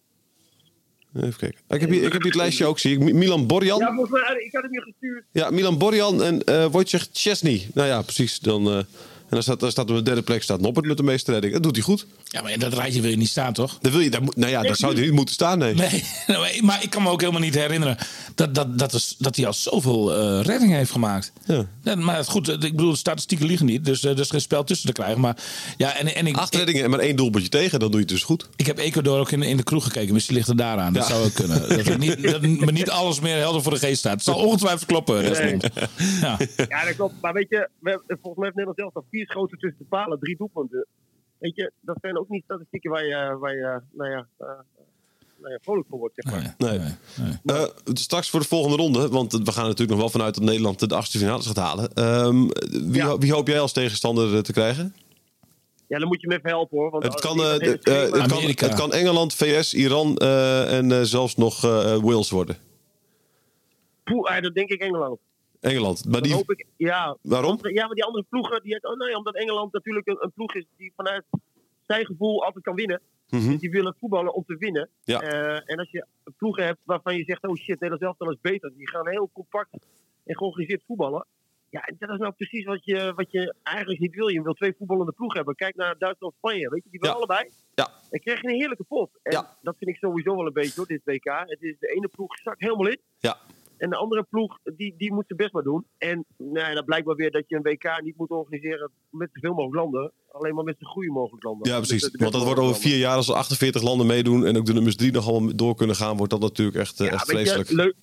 [SPEAKER 2] Even kijken. Ik heb hier, ik heb hier het lijstje ook, zie ik. Mi- Milan Borjan.
[SPEAKER 4] Ja, volgens mij, eh, ik had hem hier gestuurd.
[SPEAKER 2] Ja, Milan Borjan en eh Wojciech Chesney. Nou ja, precies. Dan, eh, en dan staat, dan staat op de derde plek staat Noppert met de meeste redding. Dat doet hij goed.
[SPEAKER 3] Ja, maar in dat rijtje wil je niet staan, toch?
[SPEAKER 2] Dan wil je, daar moet- nou ja, daar zou hij niet moeten staan, nee.
[SPEAKER 3] Nee, nee, maar ik kan me ook helemaal niet herinneren dat, dat, dat, is, dat hij al zoveel eh reddingen heeft gemaakt.
[SPEAKER 2] Ja.
[SPEAKER 3] Ja, maar goed, eh, ik bedoel, de statistieken liegen niet, dus eh, er is geen spel tussen te krijgen. Maar ja, en, en ik,
[SPEAKER 2] Acht
[SPEAKER 3] ik,
[SPEAKER 2] reddingen en maar één doelpuntje tegen, dan doe je het dus goed.
[SPEAKER 3] ik heb Ecuador ook in, in de kroeg gekeken, misschien ligt het daaraan. Dat
[SPEAKER 2] Ja.
[SPEAKER 3] zou ook kunnen. Dat, er niet, dat me niet alles meer helder voor de geest staat. Het zal ongetwijfeld kloppen, Desmond. Ja.
[SPEAKER 4] Ja, dat klopt. Maar weet je, we, hebben- volgens mij heeft Nederland zelf al vier schoten tussen de palen, drie doelpunten. Weet je, dat zijn ook niet statistieken waar je, waar je nou ja, eh, nou ja, vrolijk voor wordt. Zeg maar.
[SPEAKER 2] Nee. Eh, straks voor de volgende ronde, want we gaan natuurlijk nog wel vanuit dat Nederland de achtste finales gaat halen. Ehm, wie,
[SPEAKER 4] Ja.
[SPEAKER 2] ho- wie hoop jij als tegenstander eh, te krijgen?
[SPEAKER 4] Ja, dan moet je me even helpen hoor. Want
[SPEAKER 2] Het
[SPEAKER 4] als-
[SPEAKER 2] kan,
[SPEAKER 4] die-
[SPEAKER 2] eh,
[SPEAKER 4] dat hele
[SPEAKER 2] d- eh,
[SPEAKER 4] schema-
[SPEAKER 2] het, kan,
[SPEAKER 3] Amerika.
[SPEAKER 2] het kan Engeland, VS, Iran eh, en eh, zelfs nog eh, Wales worden.
[SPEAKER 4] Poeh, ah, dat denk ik Engeland.
[SPEAKER 2] Engeland. Maar
[SPEAKER 4] Dan
[SPEAKER 2] die,
[SPEAKER 4] hoop ik, ja,
[SPEAKER 2] waarom?
[SPEAKER 4] Ja, maar die andere ploegen, die, oh nee, omdat Engeland natuurlijk een, een ploeg is die vanuit zijn gevoel altijd kan winnen.
[SPEAKER 2] Mhm.
[SPEAKER 4] Dus die willen voetballen om te winnen.
[SPEAKER 2] Ja.
[SPEAKER 4] Eh, en als je ploegen hebt waarvan je zegt, oh shit, Nederland zelf dan is beter. Die gaan heel compact en georganiseerd voetballen. Ja, en dat is nou precies wat je, wat je eigenlijk niet wil. Je wil twee voetballende ploegen hebben. Kijk naar Duitsland en Spanje, weet je, die willen
[SPEAKER 2] Ja.
[SPEAKER 4] allebei.
[SPEAKER 2] Ja.
[SPEAKER 4] Dan krijg je een heerlijke pot. En
[SPEAKER 2] Ja.
[SPEAKER 4] dat vind ik sowieso wel een beetje hoor, dit WK. Het is de ene ploeg zakt helemaal in.
[SPEAKER 2] Ja.
[SPEAKER 4] En de andere ploeg, die, die moet zijn best maar doen. En nou, ja, dat blijkt maar weer dat je een WK niet moet organiseren met zoveel mogelijk landen. Alleen maar met zo goede mogelijk landen.
[SPEAKER 2] Ja,
[SPEAKER 4] Dus
[SPEAKER 2] precies.
[SPEAKER 4] dat de best
[SPEAKER 2] Want dat wordt
[SPEAKER 4] mogelijke
[SPEAKER 2] over
[SPEAKER 4] landen.
[SPEAKER 2] vier jaar, als er 48 landen meedoen en ook de nummers drie nog allemaal door kunnen gaan, wordt dat natuurlijk echt, eh, echt
[SPEAKER 4] weet je,
[SPEAKER 2] vreselijk.
[SPEAKER 4] leuk,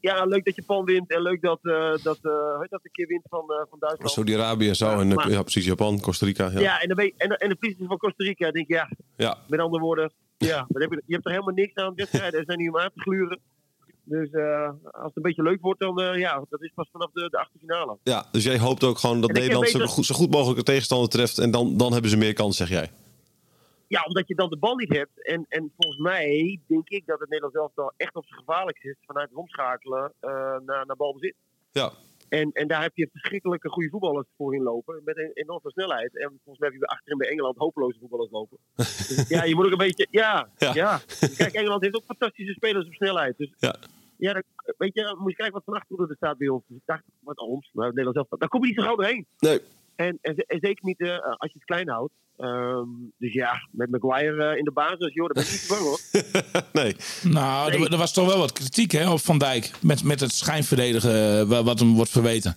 [SPEAKER 4] ja, leuk dat Japan wint. En leuk dat, eh dat, eh, hoe heet dat een keer wint van, eh, van Duitsland.
[SPEAKER 2] Saudi-Arabië zou
[SPEAKER 4] Ja,
[SPEAKER 2] en eh,
[SPEAKER 4] maar-
[SPEAKER 2] ja, precies Japan, Costa Rica. Oh, Ja.
[SPEAKER 4] ja. en, dan weet, en, en de verliezen van Costa Rica. denk ik, ja,
[SPEAKER 2] Ja.
[SPEAKER 4] met andere woorden. Ja, wat heb je, je hebt er helemaal niks aan. Wedstrijden er zijn niet om aan te gluren. Dus eh, als het een beetje leuk wordt, dan eh, ja, dat is pas vanaf de, de achterfinale.
[SPEAKER 2] Ja, dus jij hoopt ook gewoon dat
[SPEAKER 4] En ik heb
[SPEAKER 2] Nederland zo
[SPEAKER 4] beter-
[SPEAKER 2] goed, zo goed mogelijk een tegenstander treft en dan, dan hebben ze meer kans, zeg jij.
[SPEAKER 4] Ja, omdat je dan de bal niet hebt. En, en volgens mij denk ik dat het Nederlands elftal echt op zijn gevaarlijk is vanuit het omschakelen eh, naar, naar balbezit.
[SPEAKER 2] Ja,
[SPEAKER 4] En, en daar heb je verschrikkelijke goede voetballers voorin lopen. Met een enorme snelheid. En volgens mij heb je achterin bij Engeland hopeloze voetballers lopen. Dus ja, je moet ook een beetje. Ja,
[SPEAKER 2] Ja.
[SPEAKER 4] ja. Kijk, Engeland heeft ook fantastische spelers op snelheid. Dus
[SPEAKER 2] Ja.
[SPEAKER 4] Ja, dan, weet je, moet je kijken wat vannacht er staat bij ons. Ik dacht, wat ons, maar Nederland zelf. Daar kom je niet zo gauw doorheen.
[SPEAKER 2] nee,
[SPEAKER 4] En, en, ze- en zeker niet eh, als je het klein houdt. Ehm, dus ja, met Maguire eh, in de basis, joh, daar ben ik niet bang hoor.
[SPEAKER 2] nee.
[SPEAKER 3] Nou, er-
[SPEAKER 4] Nee.
[SPEAKER 3] er, was toch wel wat kritiek hè, op Van Dijk. Met, met het schijnverdedigen eh, wa- wat hem wordt verweten.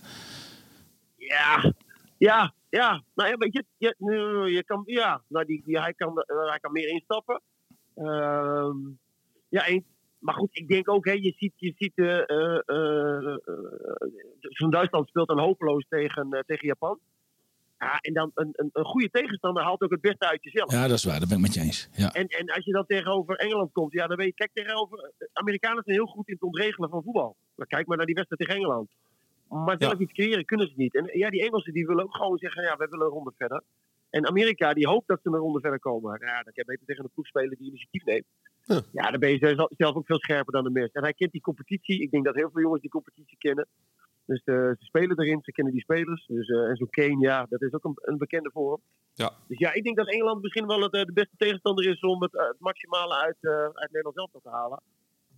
[SPEAKER 4] Ja, ja, ja. Nou ja, weet je, je, nu, je kan, ja, nou, die, die, hij, kan, eh, hij kan meer instappen. Ehm, ja, en, maar goed, ik denk ook, hè, je ziet, je ziet eh, eh, eh, eh, zo'n Duitsland speelt dan hopeloos tegen, eh, tegen Japan. Ja, en dan een, een, een goede tegenstander haalt ook het beste uit jezelf.
[SPEAKER 3] Ja, dat is waar. Dat ben ik met je eens. Ja.
[SPEAKER 4] En, en als je dan tegenover Engeland komt, ja, dan weet je, kijk tegenover. eh, Amerikanen zijn heel goed in het ontregelen van voetbal. Maar kijk maar naar die wedstrijd tegen Engeland. Maar zelf iets creëren kunnen ze niet. En ja, die Engelsen die willen ook gewoon zeggen, ja, wij willen een ronde verder. En Amerika die hoopt dat ze een ronde verder komen. Ja, dan kan je beter tegen een ploeg spelen die initiatief neemt.
[SPEAKER 2] Ja.
[SPEAKER 4] Ja. dan ben je zelf- zelf ook veel scherper dan de mist. En hij kent die competitie. Ik denk dat heel veel jongens die competitie kennen. Dus eh, ze spelen erin, ze kennen die spelers. Dus, eh, en zo'n Kane, ja, dat is ook een, een bekende voor hem. Dus ja, ik denk dat Engeland misschien wel het, eh, de beste tegenstander is om het, eh, het maximale uit, eh, uit Nederland zelf te halen.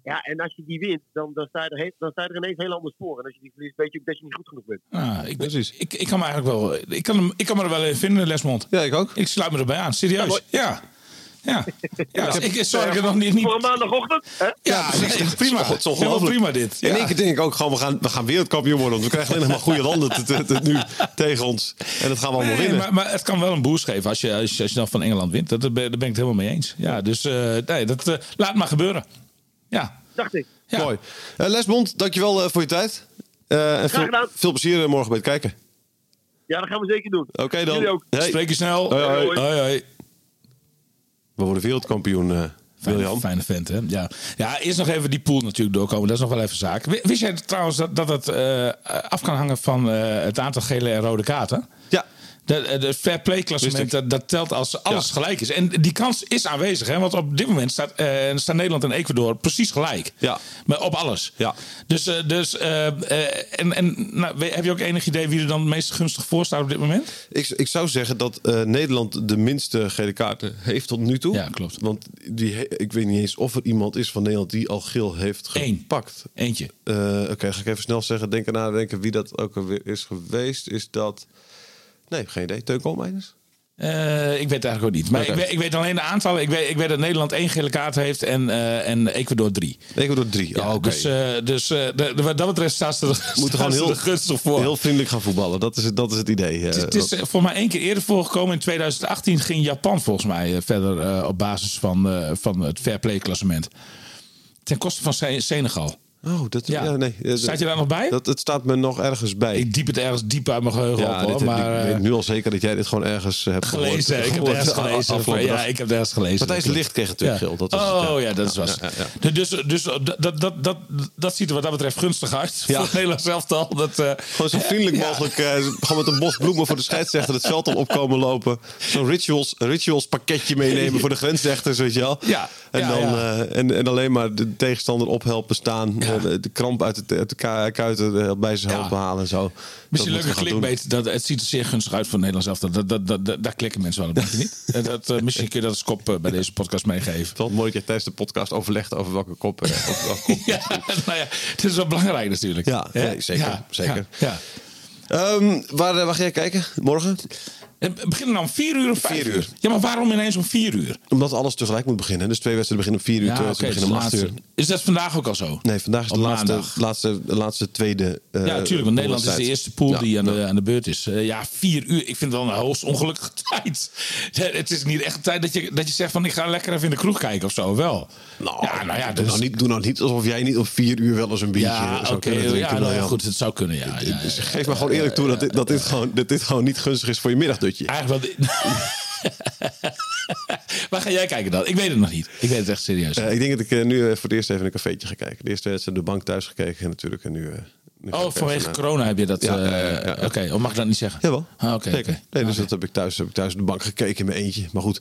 [SPEAKER 4] Ja, en als je die wint, dan, dan, sta je er heel, dan sta je er ineens heel anders voor. En als je die verliest, weet je ook dat je niet goed genoeg bent.
[SPEAKER 3] Nou, ik,
[SPEAKER 2] Precies.
[SPEAKER 3] Ik, ik kan me eigenlijk wel. Ik kan, hem, ik kan me er wel in vinden, Lesmond.
[SPEAKER 2] Ja, ik ook.
[SPEAKER 3] Ik sluit me erbij aan. Serieus. Ja. Ja. ja. Ik sorry dat ik er nog niet. niet
[SPEAKER 4] Voor een maandagochtend, hè?
[SPEAKER 3] ja,
[SPEAKER 2] precies.
[SPEAKER 3] nee,
[SPEAKER 2] Het is
[SPEAKER 3] prima.
[SPEAKER 2] ongelooflijk.
[SPEAKER 3] Het is wel prima dit. Ja.
[SPEAKER 2] In één keer denk ik ook gewoon, we gaan, we gaan wereldkampioen worden. Want we krijgen alleen nog maar goede landen te, te- te- nu tegen ons. En dat gaan we allemaal
[SPEAKER 3] Nee,
[SPEAKER 2] winnen.
[SPEAKER 3] maar, maar het kan wel een boost geven als je, als je, als je dan van Engeland wint. Dat, daar ben daar ben ik het helemaal mee eens. Ja, dus eh, nee, dat, eh, laat maar gebeuren. Ja.
[SPEAKER 4] dacht ik.
[SPEAKER 3] ja.
[SPEAKER 2] Mooi. Eh, Lesbond, dankjewel eh, voor je tijd. Eh, en veel,
[SPEAKER 4] gedaan.
[SPEAKER 2] veel plezier eh, morgen bij het kijken.
[SPEAKER 4] Ja, dat gaan we zeker doen.
[SPEAKER 2] Oké dan.
[SPEAKER 4] Jullie ook.
[SPEAKER 2] Hey,
[SPEAKER 3] Spreek je snel.
[SPEAKER 2] Hoi, hoi.
[SPEAKER 3] hoi, hoi.
[SPEAKER 2] We worden wereldkampioen, eh,
[SPEAKER 3] Fijne,
[SPEAKER 2] William.
[SPEAKER 3] fijne vent, hè? Ja. ja, eerst nog even die pool natuurlijk doorkomen. Dat is nog wel even zaak. W- Wist jij trouwens dat dat het eh, af kan hangen van eh, het aantal gele en rode kaarten?
[SPEAKER 2] Ja,
[SPEAKER 3] De, eh, de fair play
[SPEAKER 2] Wist ik.
[SPEAKER 3] klassement, dat, dat telt als alles
[SPEAKER 2] Ja.
[SPEAKER 3] gelijk is. En die kans is aanwezig, hè? want op dit moment staat, eh, staan Nederland en Ecuador precies gelijk.
[SPEAKER 2] Ja.
[SPEAKER 3] Maar op alles.
[SPEAKER 2] Ja.
[SPEAKER 3] Dus, eh, dus eh, eh, en, en nou, we- heb je ook enig idee wie er dan het meest gunstig voor staat op dit moment?
[SPEAKER 2] ik, ik zou zeggen dat eh, Nederland de minste gele kaarten heeft tot nu toe.
[SPEAKER 3] Ja, klopt.
[SPEAKER 2] Want die, he- ik weet niet eens of er iemand is van Nederland die al geel heeft
[SPEAKER 3] Eén.
[SPEAKER 2] gepakt.
[SPEAKER 3] Eentje.
[SPEAKER 2] Eh, Oké, ga ik even snel zeggen. Denken nadenken wie dat ook alweer is geweest. Is dat... Nee, geen idee. Teun Koolmeiners?
[SPEAKER 3] Eh, ik weet het eigenlijk ook niet. Maar
[SPEAKER 2] Oké.
[SPEAKER 3] ik, weet, ik weet alleen de aantallen. Ik weet, ik weet dat Nederland één gele kaart heeft en, eh, en Ecuador drie.
[SPEAKER 2] Nee, ik door drie.
[SPEAKER 3] Ja,
[SPEAKER 2] Oh, oké.
[SPEAKER 3] Dus, eh, dus eh, de- de- wat dat betreft staat ze er,
[SPEAKER 2] We moeten gewoon
[SPEAKER 3] staan ze
[SPEAKER 2] heel,
[SPEAKER 3] er gunstig voor.
[SPEAKER 2] heel vriendelijk gaan voetballen. Dat is het, dat is het idee. eh,
[SPEAKER 3] het, is
[SPEAKER 2] dat-
[SPEAKER 3] eh, voor mij één keer eerder voorgekomen. In 2018 ging Japan volgens mij eh, verder eh, op basis van, eh, van het fair play klassement. Ten koste van Se- Senegal.
[SPEAKER 2] oh, dat, ja.
[SPEAKER 3] Ja.
[SPEAKER 2] nee. eh,
[SPEAKER 3] Staat je daar nog bij?
[SPEAKER 2] Dat, het staat me nog ergens bij.
[SPEAKER 3] Ik diep het ergens diep uit mijn geheugen
[SPEAKER 2] ja,
[SPEAKER 3] op.
[SPEAKER 2] dit,
[SPEAKER 3] Hoor,
[SPEAKER 2] ik-
[SPEAKER 3] maar,
[SPEAKER 2] ik
[SPEAKER 3] eh,
[SPEAKER 2] weet nu al zeker dat jij dit gewoon ergens eh, hebt gehoord.
[SPEAKER 3] gelezen. ik heb het
[SPEAKER 2] Gehoord
[SPEAKER 3] ergens
[SPEAKER 2] de a-
[SPEAKER 3] gelezen.
[SPEAKER 2] afgelopen
[SPEAKER 3] ja,
[SPEAKER 2] dag.
[SPEAKER 3] ik heb het ergens gelicht
[SPEAKER 2] Matthijs Licht kreeg het
[SPEAKER 3] ja.
[SPEAKER 2] weer geel. Dat was het,
[SPEAKER 3] oh
[SPEAKER 2] ja.
[SPEAKER 3] ja, dat is was.
[SPEAKER 2] ja, ja,
[SPEAKER 3] Dus, dus dat, dat, dat, dat ziet er wat dat betreft gunstig uit.
[SPEAKER 2] Ja.
[SPEAKER 3] Voor het Nederlands elftal. Dat, eh,
[SPEAKER 2] Gewoon zo vriendelijk
[SPEAKER 3] Ja.
[SPEAKER 2] mogelijk. eh, gewoon met een bos bloemen voor de scheidsrechter het veld op opkomen lopen. Zo'n rituals, rituals pakketje meenemen voor de grensrechters, weet je wel.
[SPEAKER 3] Ja,
[SPEAKER 2] En,
[SPEAKER 3] ja,
[SPEAKER 2] dan,
[SPEAKER 3] ja.
[SPEAKER 2] eh, en, en alleen maar de tegenstander ophelpen staan. eh, De kramp uit de, uit de ka- kuiten eh, bij zich
[SPEAKER 3] Ja.
[SPEAKER 2] helpen halen en zo.
[SPEAKER 3] Misschien
[SPEAKER 2] Dat
[SPEAKER 3] leuke
[SPEAKER 2] moeten we gaan doen.
[SPEAKER 3] clickbait. Dat, het ziet er zeer gunstig uit voor het Nederlands elftal. Dat, dat, dat, dat- daar klikken mensen wel op, denk je niet? Eh, dat, eh, misschien kun je dat als kop eh, bij deze podcast meegeven.
[SPEAKER 2] Het is wel mooi dat je tijdens de podcast overlegt over welke kop. eh, op welke kop.
[SPEAKER 3] Ja, nou ja, het is wel belangrijk natuurlijk.
[SPEAKER 2] Ja,
[SPEAKER 3] Hè?
[SPEAKER 2] nee, zeker, zeker.
[SPEAKER 3] Ja, ja.
[SPEAKER 2] Ehm, waar, eh, waar ga jij kijken morgen?
[SPEAKER 3] Het begint dan om vier uur of vijf
[SPEAKER 2] Vier
[SPEAKER 3] uur.
[SPEAKER 2] uur.
[SPEAKER 3] Ja, maar waarom ineens om vier uur?
[SPEAKER 2] Omdat alles tegelijk moet beginnen. Dus twee wedstrijden beginnen om vier uur,
[SPEAKER 3] oké,
[SPEAKER 2] twee wedstrijden
[SPEAKER 3] het is
[SPEAKER 2] beginnen om
[SPEAKER 3] de
[SPEAKER 2] acht uur.
[SPEAKER 3] laatste. Is dat vandaag ook al zo?
[SPEAKER 2] Nee, vandaag is de
[SPEAKER 3] Op
[SPEAKER 2] laatste,
[SPEAKER 3] maandag.
[SPEAKER 2] laatste, de laatste tweede. eh,
[SPEAKER 3] Ja, natuurlijk. Want Nederland is de
[SPEAKER 2] wedstrijd.
[SPEAKER 3] eerste pool
[SPEAKER 2] Ja,
[SPEAKER 3] die eh, aan
[SPEAKER 2] ja.
[SPEAKER 3] de, aan de beurt is. Eh, ja, vier uur. Ik vind het wel een hoogst ongelukkige tijd. Het is niet echt een tijd dat je, dat je zegt van ik ga lekker even in de kroeg kijken of zo. Wel.
[SPEAKER 2] Nou,
[SPEAKER 3] ja, nou ja,
[SPEAKER 2] doe,
[SPEAKER 3] dat
[SPEAKER 2] nou
[SPEAKER 3] is-
[SPEAKER 2] niet, doe nou niet alsof jij niet om vier uur wel eens een biertje
[SPEAKER 3] Ja, oké.
[SPEAKER 2] zou kunnen drinken.
[SPEAKER 3] ja, nou, ja,
[SPEAKER 2] Brian.
[SPEAKER 3] goed, het zou kunnen. Ja, ja,
[SPEAKER 2] Dus
[SPEAKER 3] ja.
[SPEAKER 2] geef maar gewoon eerlijk toe dat dit, dat, dit gewoon, dat dit gewoon niet gunstig is voor je middagdutje.
[SPEAKER 3] Eigenlijk wel. Waar ga jij kijken dan? Ik weet het nog niet. Ik weet het echt serieus. Oh,
[SPEAKER 2] Eh, ik denk dat ik eh, nu eh, voor het eerst even een cafeetje ga kijken. De eerste wedstrijd op de bank thuis gekeken en natuurlijk. En nu, eh, nu ga ik
[SPEAKER 3] oh,
[SPEAKER 2] even
[SPEAKER 3] vanwege
[SPEAKER 2] naar-
[SPEAKER 3] corona heb je dat.
[SPEAKER 2] Ja,
[SPEAKER 3] eh,
[SPEAKER 2] ja, ja, ja, ja.
[SPEAKER 3] Oké, of mag ik dat niet zeggen?
[SPEAKER 2] Jawel.
[SPEAKER 3] Ah, oké,
[SPEAKER 2] Zeker.
[SPEAKER 3] oké.
[SPEAKER 2] Nee, dus dat heb ik, thuis, heb ik thuis op de bank gekeken in mijn eentje. Maar goed,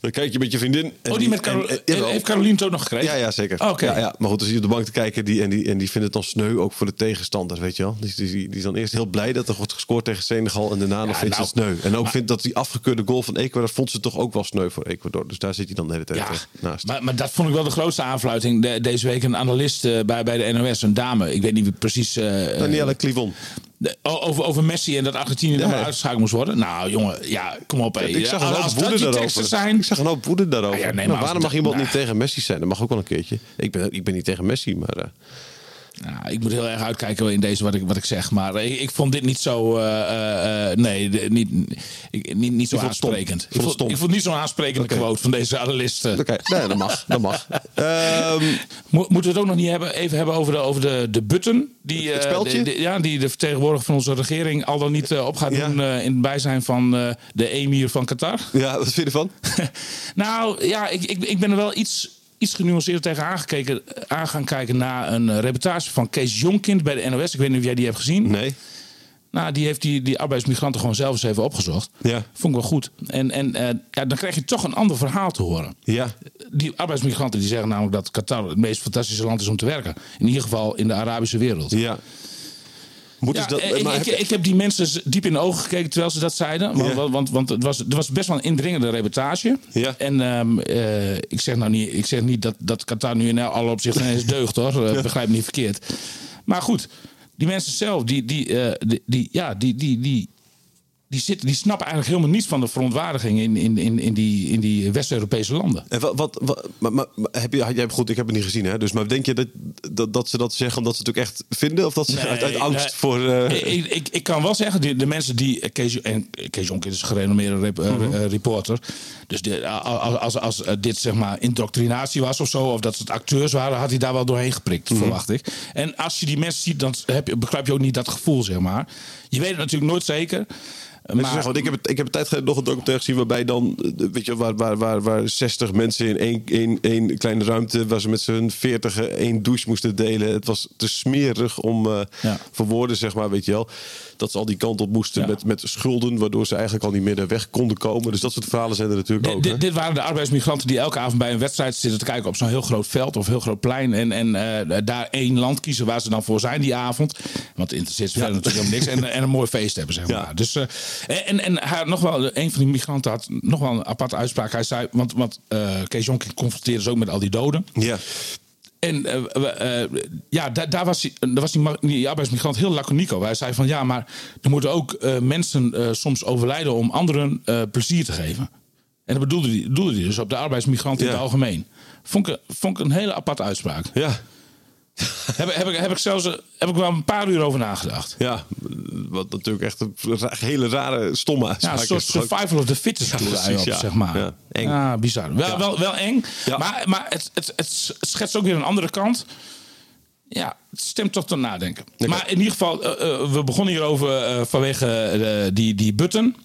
[SPEAKER 2] dan kijk je met je vriendin. en
[SPEAKER 3] Oh, die met Caro-
[SPEAKER 2] en- en- jawel.
[SPEAKER 3] heeft Caroline het ook nog gekregen?
[SPEAKER 2] Ja, ja, zeker.
[SPEAKER 3] Oké.
[SPEAKER 2] Ja, ja. Maar goed, dan zie je op de bank te kijken die, en, die, en die vindt het dan sneu ook voor de tegenstander, weet je wel. Dus Die, die, die is dan eerst heel blij dat er wordt gescoord tegen Senegal en daarna nog vindt ze het
[SPEAKER 3] nou,
[SPEAKER 2] sneu. En ook vindt dat die afgekeurde goal van Ecuador, vond ze toch ook wel sneu voor Ecuador. Dus daar zit hij dan de hele tijd
[SPEAKER 3] Ja,
[SPEAKER 2] eh, naast.
[SPEAKER 3] maar, maar dat vond ik wel de grootste aanfluiting. De- deze week een analist eh, bij, bij de NOS, een dame. Ik weet niet wie precies. eh,
[SPEAKER 2] Danielle Clivon.
[SPEAKER 3] de- o- over, over Messi en dat Argentinië nog
[SPEAKER 2] Ja.
[SPEAKER 3] maar uitgeschakeld moest worden. Nou, jongen, ja, kom op. hé.
[SPEAKER 2] Ik zag
[SPEAKER 3] Ja,
[SPEAKER 2] een hoop
[SPEAKER 3] als dat
[SPEAKER 2] woede
[SPEAKER 3] die
[SPEAKER 2] daarover.
[SPEAKER 3] teksten zijn.
[SPEAKER 2] Ik zag een hoop woede daarover.
[SPEAKER 3] Ah ja, nee,
[SPEAKER 2] Nou,
[SPEAKER 3] maar als
[SPEAKER 2] waarom
[SPEAKER 3] het-
[SPEAKER 2] mag iemand
[SPEAKER 3] nou.
[SPEAKER 2] niet tegen Messi zijn? Dat mag ook wel een keertje. Ik ben, ik ben niet tegen Messi, maar... eh,
[SPEAKER 3] Nou, ik moet heel erg uitkijken in deze wat ik, wat ik zeg. Maar eh, ik, ik vond dit niet zo. eh, eh, eh, nee, de- niet, ik, niet, niet zo
[SPEAKER 2] Je vond het stom.
[SPEAKER 3] aansprekend.
[SPEAKER 2] Je
[SPEAKER 3] Ik
[SPEAKER 2] vond het
[SPEAKER 3] vond,
[SPEAKER 2] stom.
[SPEAKER 3] ik vond niet zo'n aansprekende
[SPEAKER 2] Oké.
[SPEAKER 3] quote van deze eh. analisten.
[SPEAKER 2] Oké, nee, dat mag. Dat mag. Ehm,
[SPEAKER 3] Mo- moeten we het ook nog niet hebben, even hebben over de, over de, de button. Die,
[SPEAKER 2] Het
[SPEAKER 3] eh,
[SPEAKER 2] speldje?
[SPEAKER 3] de- de- ja, die de vertegenwoordiger van onze regering al dan niet eh, op gaat
[SPEAKER 2] Ja.
[SPEAKER 3] doen eh, in het bijzijn van eh, de emir van Qatar.
[SPEAKER 2] ja, wat vind je ervan?
[SPEAKER 3] nou ja, ik, ik, ik ben er wel iets, iets genuanceerd tegen aangekeken, aan gaan kijken na een eh, reportage van Kees Jonkind bij de NOS. Ik weet niet of jij die hebt gezien.
[SPEAKER 2] Nee.
[SPEAKER 3] Nou, die heeft die, die arbeidsmigranten gewoon zelf eens even opgezocht.
[SPEAKER 2] Ja.
[SPEAKER 3] Vond ik wel goed. En, en eh, ja, dan krijg je toch een ander verhaal te horen.
[SPEAKER 2] Ja.
[SPEAKER 3] Die arbeidsmigranten die zeggen namelijk dat Qatar het meest fantastische land is om te werken. In ieder geval in de Arabische wereld.
[SPEAKER 2] Ja. Moeten
[SPEAKER 3] Ja, eh,
[SPEAKER 2] ze dat...
[SPEAKER 3] ik,
[SPEAKER 2] maar
[SPEAKER 3] ik,
[SPEAKER 2] heb-
[SPEAKER 3] ik heb die mensen z- diep in de ogen gekeken terwijl ze dat zeiden. Want,
[SPEAKER 2] Ja.
[SPEAKER 3] want, want, want het, was, het was best wel een indringende reportage.
[SPEAKER 2] Ja.
[SPEAKER 3] En ehm, eh, ik zeg nou niet, ik zeg niet dat, dat Qatar nu in alle opzichten ineens deugt hoor. Eh, Begrijp me niet verkeerd. Maar goed, die mensen zelf, die, die, eh, die, die- ja, die, die, die, die, zitten, die snappen eigenlijk helemaal niets van de verontwaardiging in, in, in, in die, in die West-Europese landen.
[SPEAKER 2] En eh, wat, wat, wat- maar, maar, maar heb je, had jij, goed, ik heb het niet gezien, hè? Dus, maar denk je dat, dat, dat ze dat zeggen omdat ze het ook echt vinden? Of dat ze
[SPEAKER 3] Nee,
[SPEAKER 2] uit, uit angst
[SPEAKER 3] nee.
[SPEAKER 2] voor... eh,
[SPEAKER 3] Ik- ik, ik, ik kan wel zeggen, de, de mensen die... eh, Kees, en Kees Jonk is een gerenommeerde rep- eh, eh, reporter. Dus de, a- a- als, als, eh, dit zeg maar indoctrinatie was of zo... of dat het acteurs waren, had hij daar wel doorheen geprikt, verwacht ik. En als je die mensen ziet, dan heb je, begrijp je ook niet dat gevoel, zeg maar. Je weet het natuurlijk nooit zeker...
[SPEAKER 2] Ze zeggen, want ik, heb het, ik heb een tijd geleden nog een documentaire gezien waarbij dan, eh, weet je, waar, waar, waar, waar 60 mensen in één, één, één kleine ruimte, waar ze met z'n 40 één douche moesten delen. Het was te smerig om eh
[SPEAKER 3] Ja.
[SPEAKER 2] voor woorden, zeg maar, weet je wel. Dat ze al die kant op moesten
[SPEAKER 3] Ja.
[SPEAKER 2] met, met schulden, waardoor ze eigenlijk al niet meer daar weg konden komen. Dus dat soort verhalen zijn er natuurlijk ook.
[SPEAKER 3] Dit-
[SPEAKER 2] hè?
[SPEAKER 3] dit, dit waren de arbeidsmigranten die elke avond bij een wedstrijd zitten te kijken op zo'n heel groot veld of heel groot plein. En, en eh, daar één land kiezen waar ze dan voor zijn die avond. Want het interesseert ze verder natuurlijk helemaal niks. En, en een mooi feest hebben, zeg maar.
[SPEAKER 2] Ja.
[SPEAKER 3] Dus, eh, en en haar, nog wel, een van die migranten had nog wel een aparte uitspraak. Hij zei, want, want eh, Kees Jonk confronteerde ze ook met al die doden.
[SPEAKER 2] Ja.
[SPEAKER 3] En eh, we- eh, ja, daar, daar was, die, eh, daar was die, ma- die arbeidsmigrant heel laconiek over. Hij zei van ja, maar er moeten ook eh, mensen eh, soms overlijden om anderen eh, plezier te geven. En dat bedoelde hij, bedoelde hij dus op de arbeidsmigrant in
[SPEAKER 2] Ja.
[SPEAKER 3] het algemeen. Vond ik, vond ik een hele aparte uitspraak.
[SPEAKER 2] Ja.
[SPEAKER 3] heb, heb, ik, heb ik zelfs eh, heb ik wel een paar uur over nagedacht.
[SPEAKER 2] Ja, wat natuurlijk echt een ra- hele rare, stomme
[SPEAKER 3] Ja,
[SPEAKER 2] uitspraak
[SPEAKER 3] een soort
[SPEAKER 2] is toch ook?
[SPEAKER 3] survival of the fittest doet
[SPEAKER 2] precies,
[SPEAKER 3] hij op,
[SPEAKER 2] ja.
[SPEAKER 3] zeg maar.
[SPEAKER 2] Ja, eng.
[SPEAKER 3] Ja, bizar. Wel,
[SPEAKER 2] Ja.
[SPEAKER 3] wel, wel eng,
[SPEAKER 2] Ja.
[SPEAKER 3] maar, maar het, het, het schetst ook weer een andere kant. Ja, het stemt toch tot nadenken.
[SPEAKER 2] Oké.
[SPEAKER 3] Maar in ieder geval, eh, eh, we begonnen hierover eh, vanwege eh, die, die button.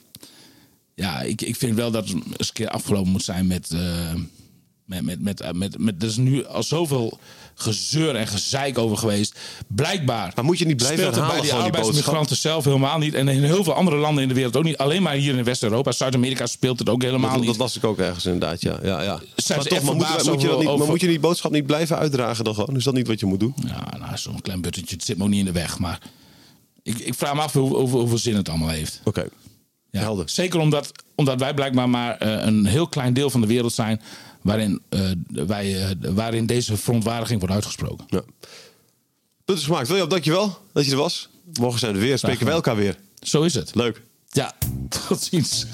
[SPEAKER 3] Ja, ik, ik vind wel dat het eens een keer afgelopen moet zijn met... eh, met, met, met, eh, met, met, er is nu al zoveel gezeur en gezeik over geweest. Blijkbaar
[SPEAKER 2] Maar moet je niet blijven
[SPEAKER 3] speelt het bij
[SPEAKER 2] herhalen gewoon
[SPEAKER 3] die
[SPEAKER 2] die
[SPEAKER 3] arbeidsmigranten zelf helemaal niet. En in heel veel andere landen in de wereld ook niet. Alleen maar hier in West-Europa, Zuid-Amerika speelt het ook helemaal
[SPEAKER 2] Dat,
[SPEAKER 3] niet.
[SPEAKER 2] dat las ik ook ergens inderdaad, ja. ja, ja.
[SPEAKER 3] ze
[SPEAKER 2] Maar,
[SPEAKER 3] echt
[SPEAKER 2] toch, maar, moet,
[SPEAKER 3] verbaasd
[SPEAKER 2] maar moet je dat
[SPEAKER 3] over-
[SPEAKER 2] niet, maar
[SPEAKER 3] over-
[SPEAKER 2] moet je die boodschap niet blijven uitdragen dan gewoon? Is dat niet wat je moet doen?
[SPEAKER 3] Ja, nou, zo'n klein buttentje, het zit me ook niet in de weg. Maar ik, ik vraag me af hoe, hoe- hoeveel zin het allemaal heeft.
[SPEAKER 2] Oké,
[SPEAKER 3] Ja.
[SPEAKER 2] helder.
[SPEAKER 3] Zeker omdat, omdat wij blijkbaar maar eh, een heel klein deel van de wereld zijn... waarin, eh, wij, eh, waarin deze verontwaardiging wordt uitgesproken.
[SPEAKER 2] Ja. Punt is gemaakt. William, dankjewel dat je er was. Morgen zijn we er weer. Spreken wij elkaar weer.
[SPEAKER 3] Zo is het.
[SPEAKER 2] Leuk.
[SPEAKER 3] Ja. Tot ziens.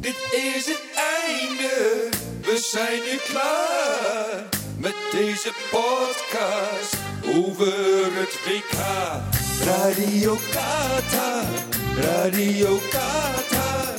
[SPEAKER 1] Dit is het einde, we zijn nu klaar met deze podcast over het WK. Radio Qatar, Radio Qatar,